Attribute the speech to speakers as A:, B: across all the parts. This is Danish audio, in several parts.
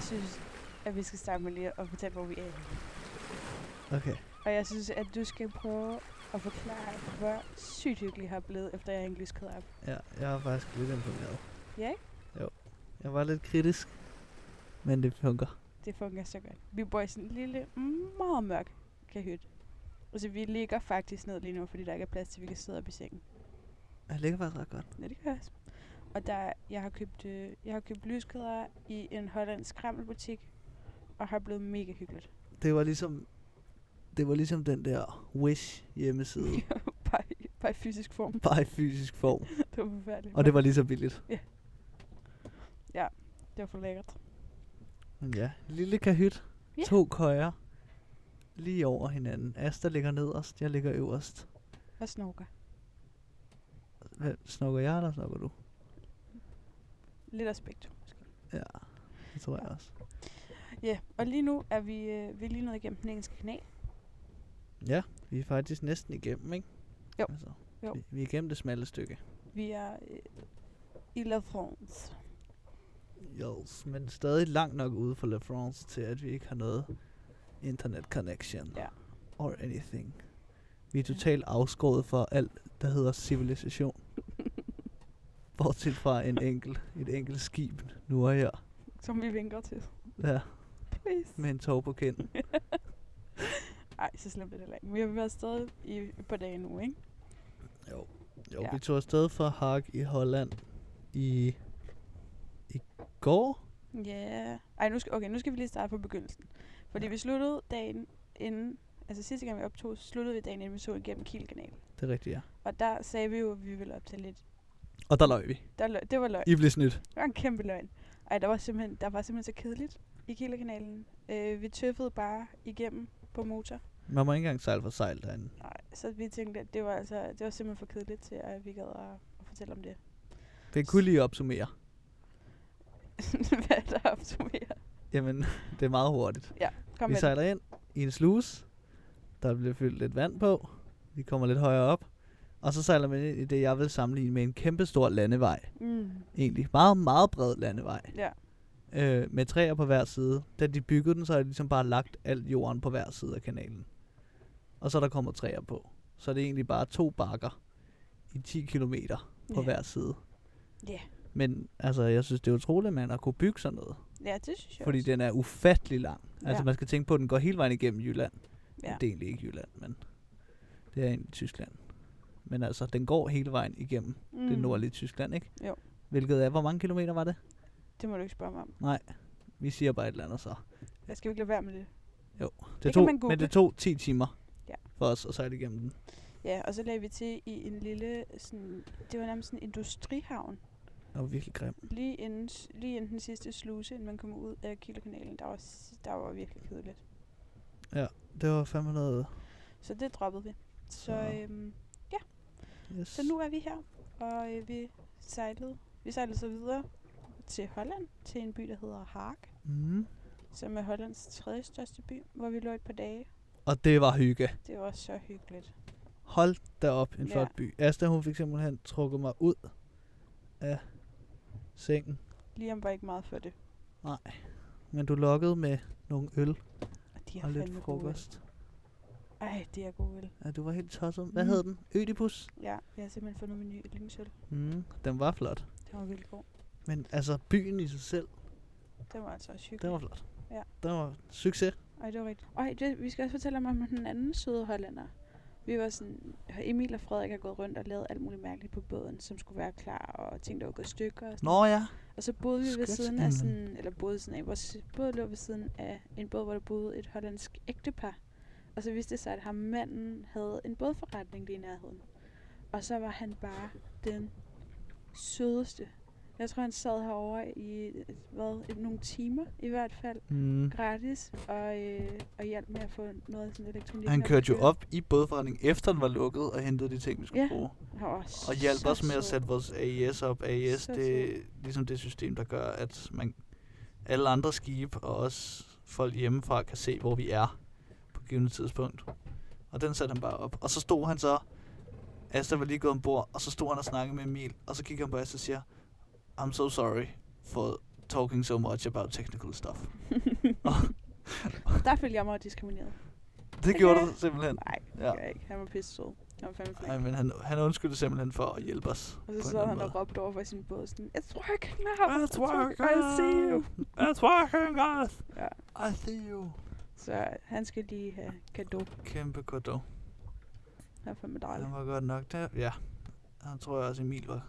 A: synes, at vi skal starte med lige at fortælle, hvor vi er.
B: Okay.
A: Og jeg synes, at du skal prøve at forklare, hvor sygt hyggelig har blevet, efter jeg er lyskede op.
B: Ja, jeg var faktisk lidt imponeret.
A: Ja, ikke?
B: Jo. Jeg var lidt kritisk, men det fungerer.
A: Det fungerer så godt. Vi bor i sådan en lille, meget mørk kahyt. Altså, vi ligger faktisk ned lige nu, fordi der ikke er plads til, at vi kan sidde op i sengen.
B: Jeg ligger faktisk ret godt.
A: Ja, det kan jeg også. Og der, jeg har købt, øh, jeg har købt lyskæder i en hollandsk krammelbutik, og har blevet mega hyggeligt.
B: Det var ligesom, det var ligesom den der Wish hjemmeside,
A: bare, i- bare i fysisk form.
B: bare i fysisk form.
A: Det var forfærdeligt.
B: Og det var lige så billigt.
A: det var for lækkert.
B: Men Ja, lille kahyt.
A: Ja.
B: To køjer. Lige over hinanden. Asta ligger nederst, jeg ligger øverst.
A: Og snorker.
B: Hvad, snakker jeg, eller snakker du?
A: Lidt aspekt. måske.
B: Det tror jeg også.
A: Ja, og lige nu er vi, øh, vi er lige nået igennem den engelske kanal.
B: Ja, vi er faktisk næsten igennem, ikke?
A: Jo.
B: Altså,
A: Jo.
B: Vi, vi er igennem det smalle stykke.
A: Vi er øh, i La France.
B: Yes, men stadig langt nok ude for La France til, at vi ikke har noget internet connection.
A: Ja.
B: Or anything. Vi er
A: Ja.
B: totalt afskåret for alt, der hedder civilisation. Bortset fra en enkelt, et enkelt skib nu og her.
A: Som vi vinker til.
B: Ja,
A: Please.
B: med en tog på kinden.
A: Nej, så slemt er det heller ikke. Vi har været afsted i et par dage nu, ikke?
B: Jo, jo
A: Ja.
B: ja. vi tog afsted fra Haag i Holland i, i går.
A: Ja. Yeah. Ej, nu skal, okay, nu skal vi lige starte på begyndelsen. Fordi ja.
B: Ja.
A: vi sluttede dagen inden, altså sidste gang vi optog, sluttede vi dagen inden vi så igennem Kielkanalen.
B: Det er rigtigt, ja.
A: Og der sagde vi jo, at vi ville op til lidt.
B: Og der løg vi.
A: Der løg, det var løgn.
B: I blev snydt.
A: Det var en kæmpe løgn. Ej, der var simpelthen, der var simpelthen så kedeligt i Kielkanalen. Øh, vi tøffede bare igennem på motor.
B: Man må ikke engang sejle for sejl derinde.
A: Nej, så vi tænkte, at det var, altså, det var simpelthen for kedeligt til, at vi gad at, at fortælle om det.
B: Det kunne lige opsummere.
A: Hvad er der opsummerer?
B: Jamen, det er meget hurtigt.
A: Kom
B: vi
A: med.
B: sejler ind i en sluse. Der bliver fyldt lidt vand på. Vi kommer lidt højere op. Og så sejler man ind i det, jeg vil sammenligne med en kæmpe stor landevej.
A: Mm.
B: Egentlig meget, meget bred landevej.
A: Ja.
B: Øh, med træer på hver side. Da de byggede den, så har de ligesom bare lagt alt jorden på hver side af kanalen. Og så er der kommer træer på. Så er det egentlig bare to bakker i 10 km på
A: ja.
B: hver side.
A: Ja.
B: Men altså, jeg synes, det er utroligt, at man har kunne bygge sådan noget.
A: Ja, det synes jeg
B: Fordi
A: også.
B: den er ufattelig lang. Altså
A: Ja.
B: man skal tænke på, at den går hele vejen igennem Jylland.
A: Ja.
B: Ja. Det er egentlig ikke Jylland, men det er egentlig Tyskland. Men altså, den går hele vejen igennem mm. det nordlige Tyskland, ikke?
A: Jo.
B: Hvilket er, hvor mange kilometer var det?
A: Det må du ikke spørge mig om.
B: Vi siger bare et eller andet så.
A: Jeg skal ikke lade være med det.
B: Det,
A: kan
B: tog,
A: man google.
B: men det tog 10 timer
A: Ja.
B: for os at sejle igennem den.
A: Ja, og så lagde vi til i en lille, sådan, det var nærmest sådan en industrihavn.
B: Det var virkelig grim.
A: Lige inden, s- lige inden den sidste sluse, inden man kom ud af Kielkanalen, der var, s- der var virkelig kedeligt.
B: Det var 500...
A: Så det droppede vi. Så,
B: Så-
A: øhm,
B: Yes.
A: så nu er vi her, og øh, vi sejlede. Vi sejlede så videre til Holland, til en by, der hedder Haag,
B: Mm.
A: som er Hollands tredje største by, hvor vi lå et par dage.
B: Og det var hygge.
A: Det var så hyggeligt.
B: Hold da op, en
A: Ja.
B: flot by. Asta, hun fik simpelthen trukket mig ud af sengen.
A: Lige om var ikke meget for det.
B: Men du lokkede med nogle øl
A: Og de er
B: og lidt
A: fandme
B: frokost.
A: Gode. Ej, det er gode øl.
B: Ja, du var helt tosset. Hvad
A: Mm.
B: hed den? Ødipus?
A: Ja, jeg har simpelthen fundet min nye yndlingsøl.
B: Mm, den var flot.
A: Den var virkelig god.
B: Men altså, byen i sig selv,
A: Den var altså også hyggelig.
B: den var flot.
A: Ja.
B: Den var succes.
A: Ej, det var rigtigt. Ej, det, vi skal også fortælle om, om den anden søde hollænder. Vi var sådan, Emil og Frederik har gået rundt og lavet alt muligt mærkeligt på båden, som skulle være klar, og ting, der var gået i stykker. Og, sådan.
B: Nå ja.
A: og så boede vi ved
B: skønt.
A: siden af
B: Mm.
A: sådan, eller boede sådan af, vores båd lå ved siden af en båd, hvor der boede et hollandsk ægtepar. Og så viste det sig, at ham manden havde en bådforretning lige i nærheden. Og så var han bare den sødeste. Jeg tror, han sad herovre i hvad, nogle timer i hvert fald
B: Mm.
A: gratis og, øh, og hjalp med at få noget sådan elektronik.
B: Han
A: op at
B: kørte jo
A: køre.
B: op i bådforretningen, efter den var lukket, og hentede de ting, vi skulle
A: Ja.
B: bruge.
A: Han var også
B: Og hjalp
A: så
B: os med at
A: sød.
B: sætte vores AES op. AES,
A: Så
B: det er ligesom det system, der gør, at man alle andre skibe og også folk hjemmefra kan se, hvor vi er på et givet tidspunkt. Og den satte han bare op. Og så stod han så, Asta var lige gået ombord, og så stod han og snakkede med Emil, og så kiggede han på Asta og siger, I'm so sorry for talking so much about technical stuff.
A: Der følte jeg mig diskrimineret.
B: Det gjorde du simpelthen.
A: Nej, det
B: Ja.
A: ja. jeg ikke. Han var pisse sød. Han var fandme flink.
B: Ej, men han, han undskyldte simpelthen for at hjælpe os.
A: Og så
B: på en
A: sad
B: anden
A: han
B: måde.
A: og råbte over for sin båd, sådan, It's working now!
B: It's working!
A: I see you!
B: It's working, guys!
A: Ja.
B: I see you!
A: Så han skal lige have kado.
B: Kæmpe kado.
A: Han er fandme dejlig.
B: Han var godt nok der. Ja. Han tror jeg også Emil var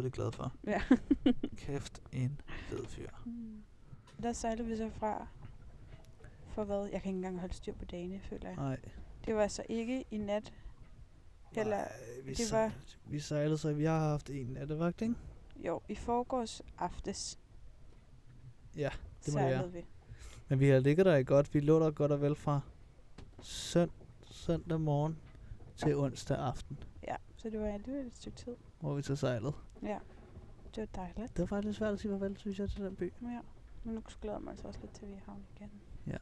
B: lidt glad for.
A: Ja.
B: Kæft en fed fyr.
A: Mm. Der sejlede vi så fra. For hvad? Jeg kan ikke engang holde styr på dagene, føler jeg.
B: Nej.
A: Det var så ikke i nat. Eller,
B: Nej, vi,
A: det
B: det
A: var-
B: var... vi sejlede, så vi har haft en nattevagt, ikke?
A: Jo, i forgårs aftes.
B: Ja, det må det
A: sejlede vi.
B: Men vi har ligget der i godt. Vi lå der godt og vel fra søn, søndag morgen til onsdag aften,
A: Ja, så det var alligevel et stykke tid.
B: hvor vi så sejlede.
A: Ja, det var dejligt.
B: Det var faktisk svært at sige farvel, synes jeg, til den by.
A: Ja, men nu glæder jeg mig altså også lidt til, at vi er i havn igen.
B: Ja.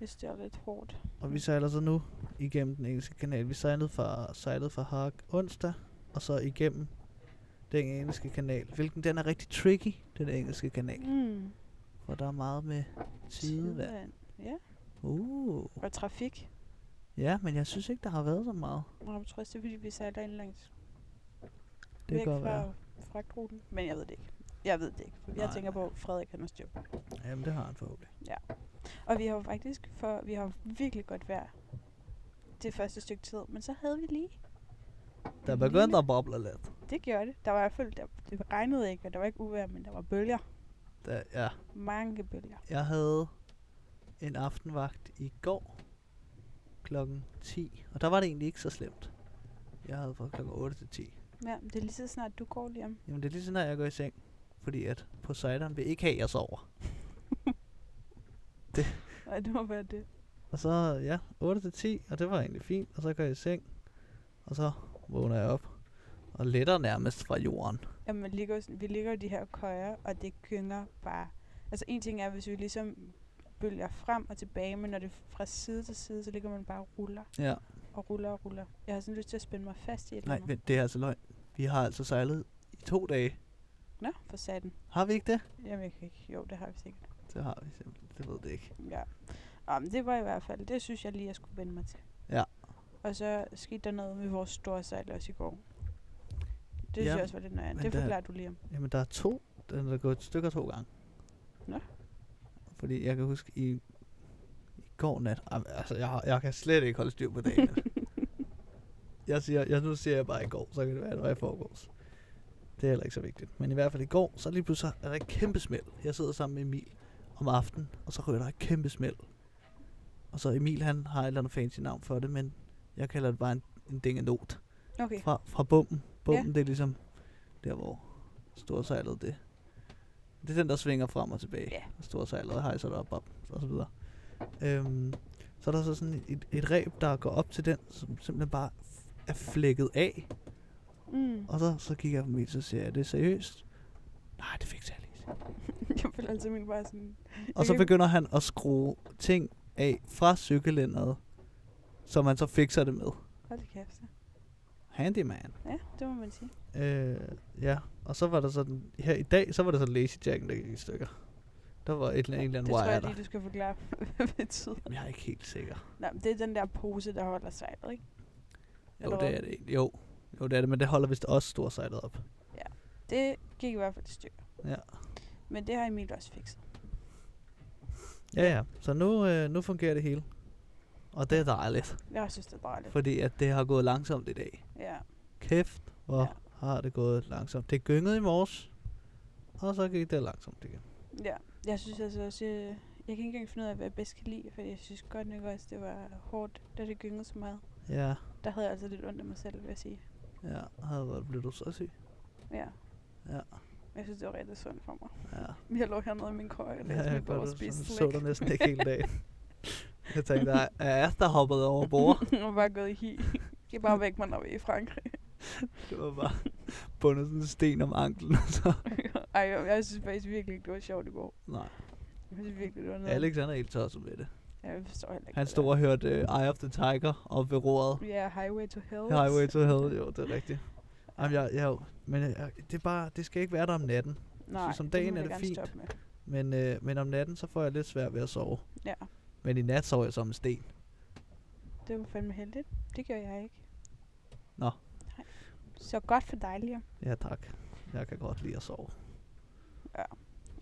A: Jeg synes, det er lidt hårdt.
B: Og vi sejler så nu igennem den engelske kanal. Vi sejlede fra, sejlede fra Haag onsdag, og så igennem den engelske kanal. Hvilken den er rigtig tricky, den engelske kanal.
A: Mm.
B: For der er meget med tidevand.
A: Tidevand. Ja,
B: Uh.
A: og trafik.
B: Ja, men jeg synes ikke, der har været så meget.
A: Og jeg tror også, det er, fordi vi sejler ind langs
B: Det
A: væk
B: kan godt være.
A: fra fragtruten. Men jeg ved det ikke. Jeg ved det ikke. Jeg
B: Nej,
A: tænker
B: nej.
A: på, at Frederik han har styr på. det.
B: Jamen, det har han forhåbentlig.
A: Og vi har jo faktisk, for vi har jo virkelig godt vejr det første stykke tid. Men så havde vi lige.
B: Der
A: En
B: begyndte
A: lille-
B: at boble lidt.
A: Det gjorde det. Der var i hvert fald, der, det regnede ikke, og der var ikke uvejr, men der var bølger.
B: Der, ja.
A: Mange bølger.
B: Jeg havde en aftenvagt i går klokken 10, og der var det egentlig ikke så slemt. Jeg havde fra klokken 8 til 10.
A: Ja, men det er lige så snart, du går lige om.
B: Jamen det er lige sådan, at jeg går i seng, fordi at Poseidon vil ikke have, at jeg sover.
A: Nej, det må være det.
B: Og så, ja, 8 til 10, og det var egentlig fint, og så går jeg i seng, og så vågner jeg op og letter nærmest fra jorden.
A: Jamen, man ligger, jo sådan- vi ligger jo i de her køjer, og det gynger bare. Altså, en ting er, hvis vi ligesom bølger frem og tilbage, men når det er fra side til side, så ligger man bare og ruller
B: Ja,
A: og ruller og ruller. Jeg har sådan lyst til at spænde mig fast i et eller
B: nej,
A: andet.
B: men det er altså løgn. Vi har altså sejlet i to dage.
A: Nå, for satan.
B: Har vi ikke det?
A: Jamen, jeg kan ikke. Jo, det har vi sikkert.
B: Det har vi simpelthen. Det ved det ikke.
A: Ja. Jamen, det var i hvert fald, det synes jeg lige, jeg skulle vende mig til.
B: Ja.
A: Og så skete der noget med vores store sejl også i går. Det synes
B: Ja,
A: jeg også var lidt nøjende.
B: men
A: Det
B: der-
A: forklarer du lige om.
B: Jamen der er to, den er gået i stykker to gange.
A: Nå.
B: Fordi jeg kan huske i, i går nat, Am- altså jeg, har- jeg kan slet ikke holde styr på dagen. jeg siger, jeg, nu siger jeg bare i går, så kan det være, at det var i forgårs. Det er heller ikke så vigtigt. Men i hvert fald i går, så lige pludselig er der et kæmpe smæld. Jeg sidder sammen med Emil om aftenen, og så ryger der et kæmpe smæld. Og så Emil, han har et eller andet fancy navn for det, men jeg kalder det bare en, en dingenot
A: Okay.
B: fra, fra bomben. Bomben, ja. det er ligesom der, hvor storsejlet det. Det er den, der svinger frem og tilbage.
A: Ja.
B: Og Storsejlet hejser det op, op og så videre. Øhm, så er der så sådan et, et ræb, der går op til den, som simpelthen bare f- er flækket af.
A: Mm.
B: Og så, så kigger jeg på mig, så siger jeg, er det seriøst? Nej, det fik jeg ikke.
A: Jeg føler altid min bare sådan...
B: Og så
A: kan-
B: begynder han at skrue ting af fra cykelænderet, som man så fikser det med.
A: Hold da kæft. så.
B: Handyman.
A: Ja, det må man sige.
B: Øh, ja, og så var der sådan, her i dag, så var det så Lazy Jacken, der gik i stykker. Der var et eller andet, en eller
A: Det
B: anden
A: tror
B: wire
A: jeg
B: der.
A: lige, du skal forklare, hvad det betyder.
B: Jamen, jeg er ikke helt sikker.
A: Nå, men det er den der pose, der holder sejlet, ikke?
B: Jo,
A: Eller
B: det
A: hvad?
B: er det egentlig. Jo. jo, det er det, men det holder vist også storsejlet op.
A: Det gik i hvert fald i stykker.
B: Ja.
A: Men det har Emil også fikset.
B: Ja, ja. Så nu, øh, nu fungerer det hele. Og det er dejligt,
A: Jeg synes, det er dejligt.
B: fordi at det har gået langsomt i dag.
A: Ja.
B: Kæft, hvor
A: Ja.
B: ja. har det gået langsomt. Det gyngede i morges, og så gik det langsomt igen.
A: ja. Jeg synes altså også, øh, jeg kan ikke engang finde ud af, hvad jeg bedst kan lide, for jeg synes godt nok også, det var hårdt, da det gyngede så meget.
B: Ja,
A: Der havde jeg altså lidt ondt af mig selv, vil jeg sige.
B: ja. Og blev du så syg?
A: Ja.
B: Ja.
A: Jeg synes, det var rigtig sundt for mig.
B: Ja.
A: Jeg lå hernede i min køje og læste
B: Ja,
A: ja,
B: jeg
A: mit bog og
B: godt, så,
A: spiste
B: så
A: slik.
B: der næsten ikke hele dagen. Jeg tænkte, der er der hoppet over bord.
A: Jeg var bare gået i hi. Jeg er bare væk, man er i Frankrig.
B: Det var bare bundet sådan en sten om anklen. og Så.
A: Ej, jeg, jeg synes faktisk virkelig ikke, det var sjovt i går.
B: Nej,
A: Jeg synes virkelig, det var noget.
B: Alex han er helt tosset med det.
A: Ja, jeg forstår heller ikke.
B: Han
A: det
B: stod og hørte uh, Eye of the Tiger op ved roret.
A: der. Ja, Highway to Hell.
B: øh, Highway to Hell, jo, det er rigtigt. Jamen, jeg, jeg, men jeg, det, er bare, det skal ikke være der om natten.
A: Nej,
B: om
A: det
B: dagen
A: må
B: er
A: jeg
B: det
A: gerne
B: fint.
A: stoppe Med.
B: Men, øh, men om natten, så får jeg lidt svært ved at sove.
A: Ja,
B: Men i nat sov jeg som en sten.
A: det var fandme heldigt. Det gjorde jeg ikke.
B: Nå.
A: Nej. Så godt for dig, Liam.
B: Ja, tak. Jeg kan godt lide at sove.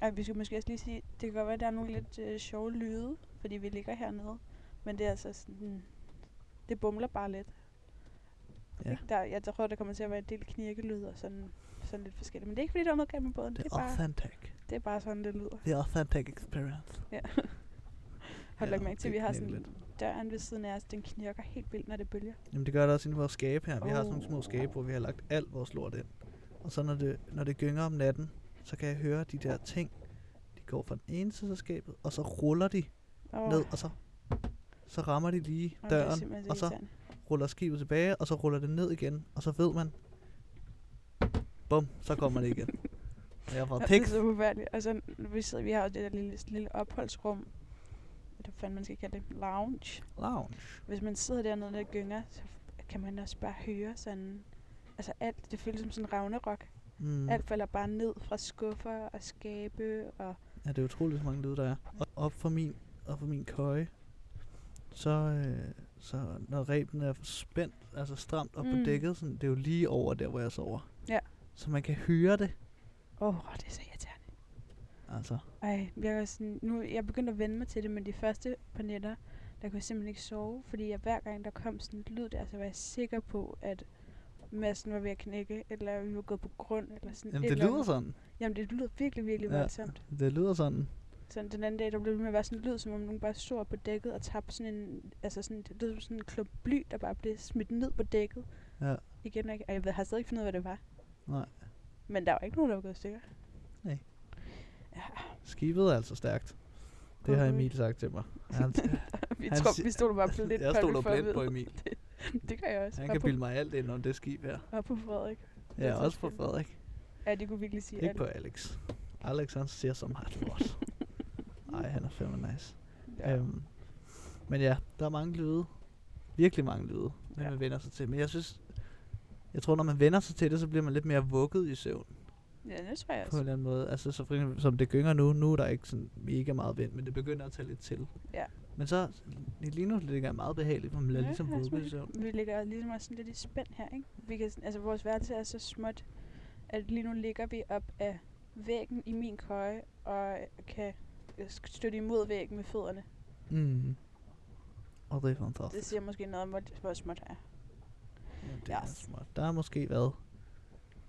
A: Ej, vi skal måske også lige sige, det kan godt være, at der er nogle lidt øh, sjove lyde, fordi vi ligger hernede. Men det er altså sådan, hmm, det bumler bare lidt.
B: Ja.
A: Ja. Der, jeg tror, der kommer til at være en del knirkelyde og sådan, sådan lidt forskelligt. Men det er ikke, fordi der er noget galt med båden.
B: Det
A: Det
B: er
A: er, bare,
B: authentic.
A: det er bare sådan, det lyder.
B: Det er authentic experience.
A: Har du
B: Ja,
A: lagt mærke til, at vi
B: det
A: har
B: knirker
A: sådan døren ved siden af os, den knirker helt vildt, når det bølger.
B: Jamen, det gør det også inde i vores skabe her. Vi har sådan nogle små
A: Oh.
B: skabe, hvor vi har lagt alt vores lort ind. Og så når det, når det gynger om natten, så kan jeg høre de der ting. De går fra den ene side af skabet, og så ruller de
A: Og,
B: ned, og så, så rammer de lige døren, og så ruller skibet tilbage, og så ruller det ned igen, og så ved man, bum, så kommer det igen. Og jeg får
A: Ja, Det
B: tekst.
A: er så forfærdeligt. Og så vi, sidder, vi har jo det der lille, lille opholdsrum. Hvad fanden man skal kalde det? Lounge.
B: Lounge.
A: Hvis man sidder dernede og gynger, så kan man også bare høre sådan... Altså alt, det føles som sådan en ragnarok.
B: Mm.
A: Mm. Alt falder bare ned fra skuffer og skabe og...
B: Ja, det er utroligt, så mange lyde der er. Og op for min, op for min køje, så, øh, så når reben er spændt, altså stramt op mm. på
A: Mm.
B: dækket, sådan, det er jo lige over der, hvor jeg sover.
A: Ja.
B: Så man kan høre det.
A: Åh, oh, det er så irriterende.
B: Altså,
A: Ej, jeg, er sådan, nu, jeg begyndte at vende mig til det, men de første par nætter, der kunne jeg simpelthen ikke sove, fordi jeg, hver gang der kom sådan et lyd der, så var jeg sikker på, at massen var ved at knække, eller vi var gået på grund, eller sådan
B: jamen,
A: et
B: det
A: eller andet.
B: lyder sådan.
A: Jamen, det lyder virkelig, virkelig
B: Ja.
A: ja. voldsomt.
B: Det lyder sådan.
A: Sådan den anden dag, der blev det ved med at være sådan en lyd, som om nogen bare stod på dækket og tabte sådan en... Altså sådan, det lød som sådan en klump bly, der bare blev smidt ned på dækket.
B: Ja.
A: Igen og igen. Og jeg ved- har stadig ikke fundet ud af, hvad det var.
B: Nej.
A: Men der var ikke nogen, der var gået i stykker.
B: Skibet er altså stærkt. Det har
A: Overhovedet.
B: Emil sagt til mig. Han,
A: Vi,
B: Han
A: tror,
B: si-
A: vi stoler bare blindt
B: jeg
A: på
B: stoler
A: det, for at
B: blindt på
A: vide.
B: Emil.
A: Det gør jeg også.
B: Han
A: Og
B: kan
A: på,
B: bilde mig alt ind om det skib her.
A: og på Frederik. Det er
B: Ja,
A: så
B: også på
A: fedt.
B: Frederik.
A: Ja, det kunne virkelig sige
B: Ikke
A: alt.
B: på Alex. Alex, han ser så meget lort. Nej, han er fandme nice.
A: Ja.
B: Øhm, men ja, der er mange lyde. Virkelig mange lyde, når
A: Ja.
B: man vender sig til. Men jeg synes, jeg tror, når man vender sig til det, så bliver man lidt mere vugget i søvn
A: ja, det tror jeg
B: på en
A: også.
B: eller anden måde. Altså, så for eksempel, som det gynger nu, nu er der ikke sådan mega meget vind, men det begynder at tage lidt til.
A: Ja.
B: Men så, lige nu ligger jeg meget behageligt, for man bliver
A: Ja,
B: ligesom
A: det er også
B: vugget i
A: meget
B: søvn.
A: Vi ligger ligesom også sådan lidt i spænd her, ikke? Vi kan, sådan- altså, vores værelse er så småt, at lige nu ligger vi op af væggen i min køje, og kan øh, sk- støtte imod væggen med fødderne.
B: Mm. Og det er
A: Det
B: fantastisk.
A: siger måske noget om, hvor, hvor småt er.
B: Ja, det er
A: Yes.
B: smart. Der er måske været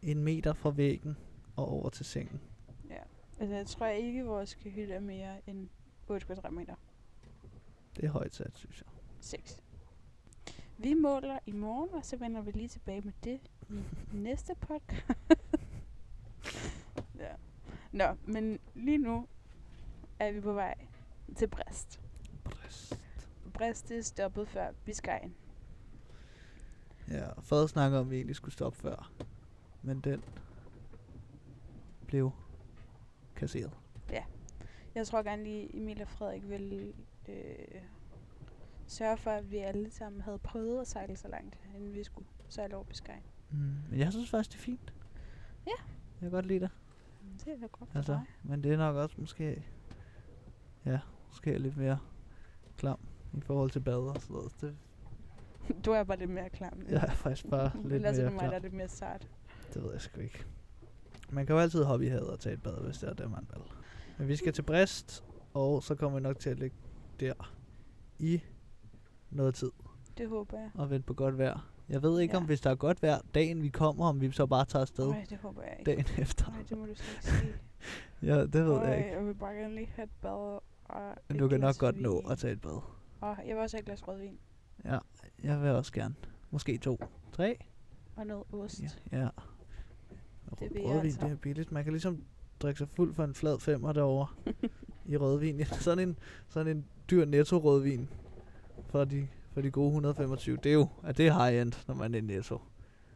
B: en meter fra væggen og over til sengen.
A: Altså, jeg tror ikke, vores hytte er mere end 8 kvadratmeter.
B: Det er højt sat, synes jeg.
A: 6. Vi måler i morgen, og så vender vi lige tilbage med det i næste podcast. ja. Nå, men lige nu er vi på vej til Brest.
B: Brist.
A: Brest det er stoppet før Biscayen.
B: Ja, og Fred snakker om, at vi egentlig skulle stoppe før. Men den blev kasseret.
A: Jeg tror gerne lige, Emil og Frederik ville øh, sørge for, at vi alle sammen havde prøvet at sejle så langt, inden vi skulle sejle over Biscayen.
B: Mm. Men jeg synes faktisk, det er fint.
A: Ja.
B: Jeg kan godt lide det.
A: Mm, Det er da godt for
B: Altså,
A: dig.
B: men det er nok også måske... Ja, måske er jeg lidt mere klam i forhold til bade og sådan noget. Det,
A: Du er bare lidt mere klam. nu.
B: jeg er faktisk bare lidt
A: Ellers er altså,
B: mere
A: det mig, der er
B: klam.
A: lidt mere sart.
B: Det ved jeg sgu ikke. Man kan jo altid hoppe i havet og tage et bad, hvis det er der, man vil. Men vi skal til Brest, og så kommer vi nok til at ligge der i noget tid.
A: Det håber jeg.
B: og vente på godt vejr. Jeg ved ikke, ja. om
A: Ja.
B: hvis der er godt vejr dagen vi kommer, om vi så bare tager afsted
A: Nej, det håber jeg ikke.
B: dagen efter.
A: Nej, det må du slet ikke sige.
B: Ja, det ved jeg
A: Øj,
B: ikke.
A: Jeg vil bare gerne lige have et bad og
B: Men
A: et
B: du kan nok
A: glas
B: godt nå
A: vin.
B: at tage et bad.
A: Og jeg vil også have et glas rødvin.
B: Ja, jeg vil også gerne. Måske to. Tre?
A: Og noget ost.
B: Ja. ja.
A: Det vil jeg
B: rødvin,
A: altså.
B: det er billigt. Man kan ligesom drikke sig fuld for en flad femmer derovre i rødvin. sådan, en, sådan en dyr netto rødvin for de, for de gode 125. Det er jo at det er high-end, når man er i netto.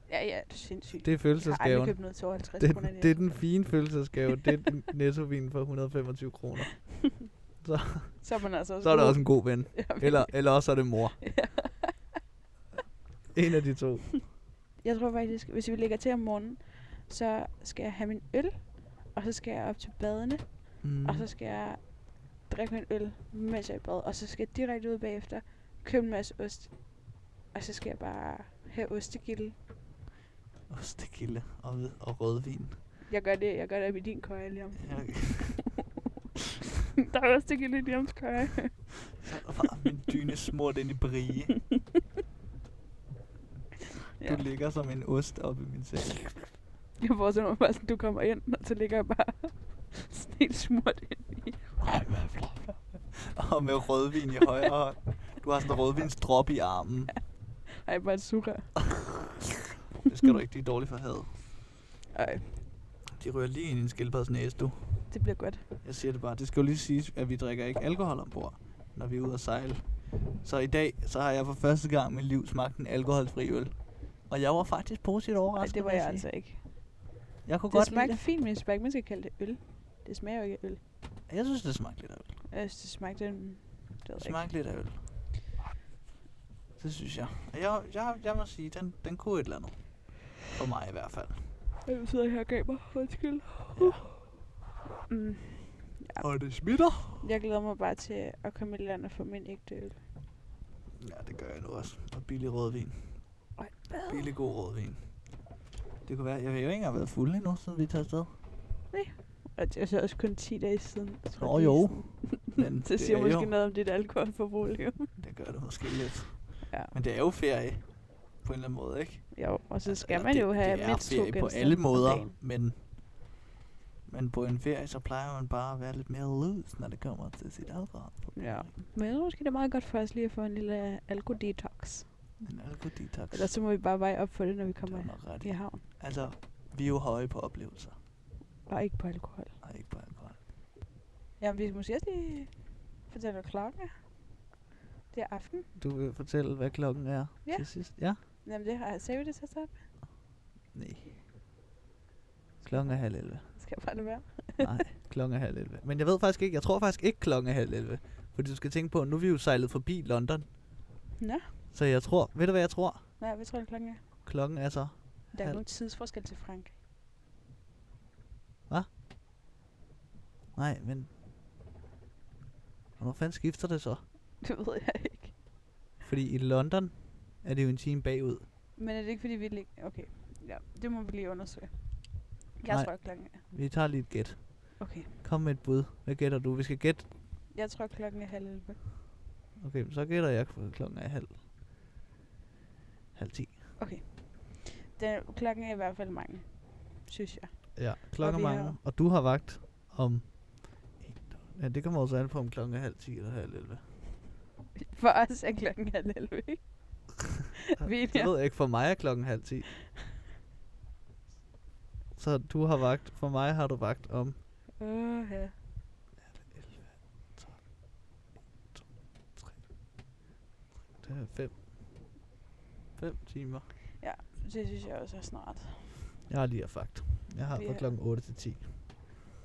A: Ja, ja, det er sindssygt. Jeg har
B: Det er
A: aldrig
B: følelsesgaven.
A: købt noget til over 50
B: det,
A: kroner. i
B: det er den fine følelsesgave. det er den nettovin for 125 kroner.
A: Så er man altså også
B: Så er der
A: god.
B: også en god ven.
A: Ja, men-
B: Eller, eller også er det mor. en af de to.
A: Jeg tror faktisk, hvis vi lægger til om morgenen, så skal jeg have min øl. og så skal jeg op til badene,
B: Mm.
A: mm. og så skal jeg drikke en øl, mens jeg er i bad, og så skal jeg direkte ud bagefter, købe en masse ost, og så skal jeg bare have ostegilde.
B: Ostegilde og, hvid- og rødvin.
A: Jeg gør det, jeg gør det op i din køje lige om.
B: Ja, okay.
A: Der er ostegilde i Liams køje.
B: Så er bare min dyne smurt ind i brie.
A: Ja.
B: Du ligger som en ost oppe i min seng.
A: Jeg forestiller mig bare sådan, du kommer ind, og så ligger jeg bare sådan helt smurt ind i.
B: og med rødvin i højre hånd. Du har sådan en rødvinsdrop i armen.
A: Ej, bare et sukker.
B: Det skal du ikke, de er dårlige for had.
A: Ej,
B: De rører lige ind i en skildpaddes næse, du.
A: det bliver godt.
B: Jeg siger det bare. Det skal jo lige siges, at vi drikker ikke alkohol ombord, når vi er ude at sejle. Så i dag, så har jeg for første gang i mit liv smagt en alkoholfri øl. Og jeg var faktisk positivt
A: Ej,
B: overrasket.
A: det var
B: vil
A: jeg
B: sige.
A: altså ikke.
B: Jeg kunne
A: Det
B: godt lide
A: smagte
B: det.
A: fint, men jeg smagte, man skal kalde det øl. Det smager jo ikke af øl.
B: Jeg synes, det smagte lidt af øl.
A: Jeg synes, det smagte en... Det ved
B: Det
A: jeg ikke.
B: smagte lidt af øl. Det synes jeg. Og Jeg, jeg, jeg må sige, den, den kunne et eller andet. For mig i hvert fald.
A: Jeg sidder her og gaber. Undskyld. Uh. Mm.
B: Og det smitter.
A: Jeg glæder mig bare til at komme i land og få min ægte øl.
B: Ja, det gør jeg nu også. Og billig rødvin.
A: Ej,
B: Billig god rødvin. Det kunne være, jeg har jo ikke engang været fuld endnu, siden vi tager afsted.
A: Og det er så også kun 10 dage siden. Jeg tror,
B: Nå
A: det er
B: jo,
A: sådan-
B: men
A: Det siger
B: er
A: måske
B: jo,
A: noget om dit alkoholforbrug. Leo.
B: Det gør det måske lidt.
A: Ja.
B: Men det er jo ferie, på en eller anden måde, ikke?
A: Jo, og så skal
B: Eller
A: man
B: det,
A: jo have
B: det er
A: mindst to
B: ferie på
A: genstande
B: alle
A: om
B: måder,
A: dagen.
B: men, men på en ferie, så plejer man bare at være lidt mere loose, når det kommer til sit alkohol.
A: Ja. Men jeg tror måske, det er meget godt for os lige at få en lille alkohol-detox.
B: En alkohol-detox.
A: Ellers så må vi bare veje op for det, når vi
B: det
A: kommer
B: er nok ret.
A: i
B: Ja.
A: havn.
B: Altså, vi er jo høje på oplevelser,
A: Og ikke på alkohol.
B: og ikke på alkohol.
A: Ja, vi skal måske også lige fortælle, hvad klokken er. Det er aften.
B: Du vil fortælle, hvad klokken er
A: Ja.
B: til sidst? Ja.
A: Jamen, det har jeg sagde vi det til at starte med.
B: Nej. Klokken er halv 11.
A: Skal jeg bare lade være?
B: Nej, klokken er halv 11. Men jeg ved faktisk ikke, jeg tror faktisk ikke klokken er halv 11. Fordi du skal tænke på, nu er vi jo sejlet forbi London.
A: Nå.
B: Så jeg tror, ved du hvad jeg tror?
A: Nej, hvad tror du, klokken er?
B: Klokken er så.
A: Der er
B: Halv-
A: jo nogen tidsforskel til Frank.
B: Nej, men... Hvornår fanden skifter det så?
A: Det ved jeg ikke.
B: Fordi i London er det jo en time bagud.
A: Men er det ikke, fordi vi ligger... Okay, ja, det må vi lige undersøge. Jeg
B: Nej.
A: tror, klokken er...
B: Vi tager lige et gæt.
A: Okay.
B: Kom med et bud. Hvad gætter du? Vi skal gætte.
A: Jeg tror, klokken er halv 11.
B: Okay, men så gætter jeg, for klokken er halv... Halv 10.
A: Okay. Den, klokken er i hvert fald mange, synes jeg.
B: Ja, klokken
A: vi
B: mange.
A: har-
B: Og du har vagt om... Ja, det kommer også an på, om klokken er halv 10 eller halv 11.
A: For os er klokken halv 11, ikke? Vi er
B: Det ved jeg ikke. For mig er klokken halv 10. Så du har vagt. For mig har du vagt om...
A: Åh, ja.
B: 5. 5 timer.
A: Det synes jeg også er snart.
B: Jeg har lige haft vagt. Jeg har
A: Vi
B: fra
A: er-
B: klokken 8 til 10.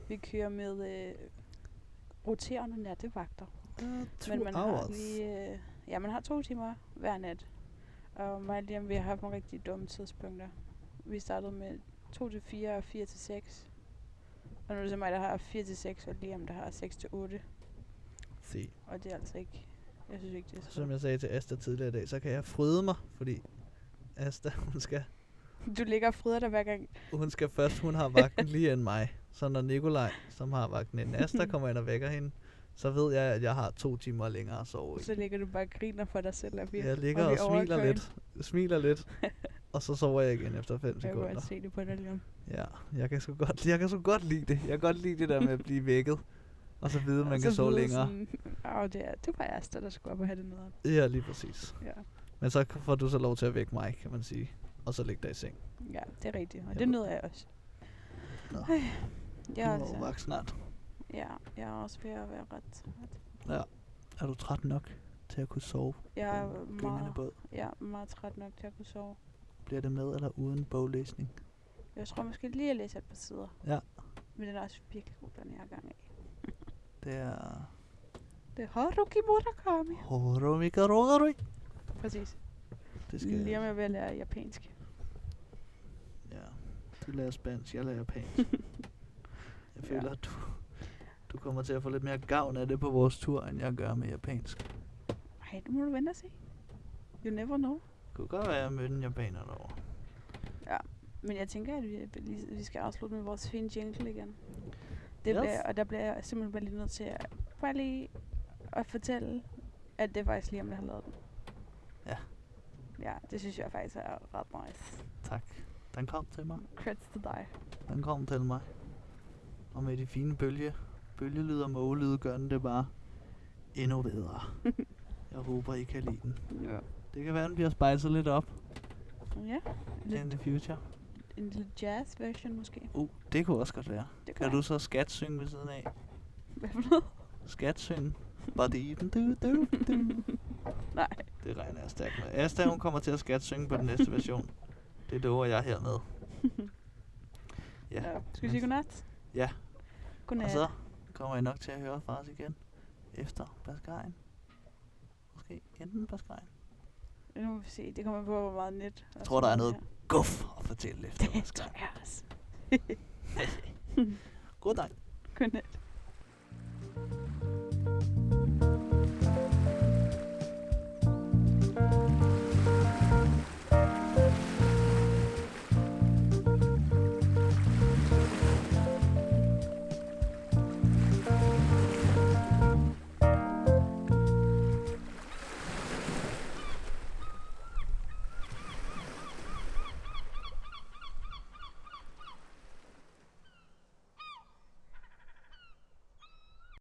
A: Vi kører med øh, roterende nattevagter. Ah, Men man har lige... Øh, ja, man har to timer hver nat. Og mig og Liam, vi har haft nogle rigtig dumme tidspunkter. Vi startede med 2 til 4 og 4 til 6. Og nu er det så mig, der har 4 til 6, og Liam, der har 6 til 8.
B: Se.
A: Og det er altså ikke... Jeg synes ikke, det er
B: Som
A: så.
B: jeg sagde til Asta tidligere i dag, så kan jeg fryde mig, fordi Asta, hun skal
A: Du ligger og frider dig hver gang.
B: Hun skal først, hun har vagten lige end mig. Så når Nikolaj, som har vagten inden Asta, kommer ind og vækker hende, så ved jeg, at jeg har to timer længere at sove. i.
A: Så ligger du bare og griner for dig selv. Og vi,
B: Jeg ligger og,
A: vi
B: smiler
A: overkører
B: lidt, smiler lidt, og så sover jeg igen efter 5
A: hende. Jeg kan
B: sekunder.
A: godt se det på dig, Liam.
B: Ja, jeg kan, sgu godt, jeg kan sgu godt lide det. Jeg kan godt lide det der med at blive vækket, og så vide, at man
A: Og
B: kan
A: så
B: sove
A: vide
B: længere.
A: Sådan, Åh, det, er, det var Asta, der skulle op og have det noget.
B: Ja, lige præcis.
A: Ja.
B: Men så får du så lov til at vække mig, kan man sige. Og så ligge dig i seng.
A: ja, det er rigtigt. Og
B: Jeg
A: det
B: ved-
A: nød jeg også.
B: Nå.
A: Øj, jeg er
B: du må jo
A: altså,
B: vagt snart.
A: ja, jeg er også ved at være ret. ret-
B: Er du træt nok til at kunne sove
A: Jeg
B: på
A: er
B: en gyngende
A: meget,
B: båd?
A: jeg er meget træt nok til at kunne sove.
B: Bliver det med eller uden boglæsning?
A: Jeg tror måske lige, at jeg læser et par sider.
B: Ja.
A: Men den er også virkelig god, den her gang af.
B: Det er...
A: Det er Haruki Murakami.
B: Horomikarogaroi.
A: Præcis.
B: Det skal
A: Lige om jeg vil lære japansk.
B: Ja. Du lærer spansk, jeg lærer japansk. Jeg
A: Ja.
B: føler, at du, du kommer til at få lidt mere gavn af det på vores tur, end jeg gør med japansk.
A: Ej, det må du vente og se. You never know.
B: Det kunne godt være, at jeg mødte en japaner derovre.
A: Men jeg tænker, at vi, lige- vi skal afslutte med vores fine jingle igen. Det
B: Yes.
A: bliver, og der bliver jeg simpelthen bare lige nødt til at, bare lige at fortælle, at det er faktisk lige om, jeg har lavet den.
B: Ja.
A: Ja, det synes jeg faktisk er ret nice.
B: Tak. Den kom til mig.
A: Creds til dig.
B: Den kom til mig. Og med de fine bølge, bølgelyde og mågelyde gør den det bare endnu bedre. jeg håber, I kan lide den.
A: Ja.
B: Det kan være, den bliver spejset lidt op
A: Ja,
B: in the future.
A: en lille jazz version måske.
B: Uh, det kunne også godt være.
A: Det
B: Kan
A: være.
B: du så skatsynge ved siden af?
A: Hvad for noget?
B: Skatsynge? Body du du du.
A: Nej.
B: Det regner jeg stærkt med. Asta, hun kommer til at skatsynge på den næste version. Det lover jeg hermed. Ja.
A: Skal vi sige godnat?
B: Ja.
A: Godnat.
B: Og så kommer I nok til at høre fra os igen efter Baskajen. Måske enten Baskajen.
A: Nu må vi se. Det kommer på, hvor meget net. og
B: Jeg tror,
A: sådan
B: der er
A: noget
B: noget guf at fortælle efter
A: her. Det
B: Baskajen.
A: tror jeg også.
B: God dag.
A: Godnat.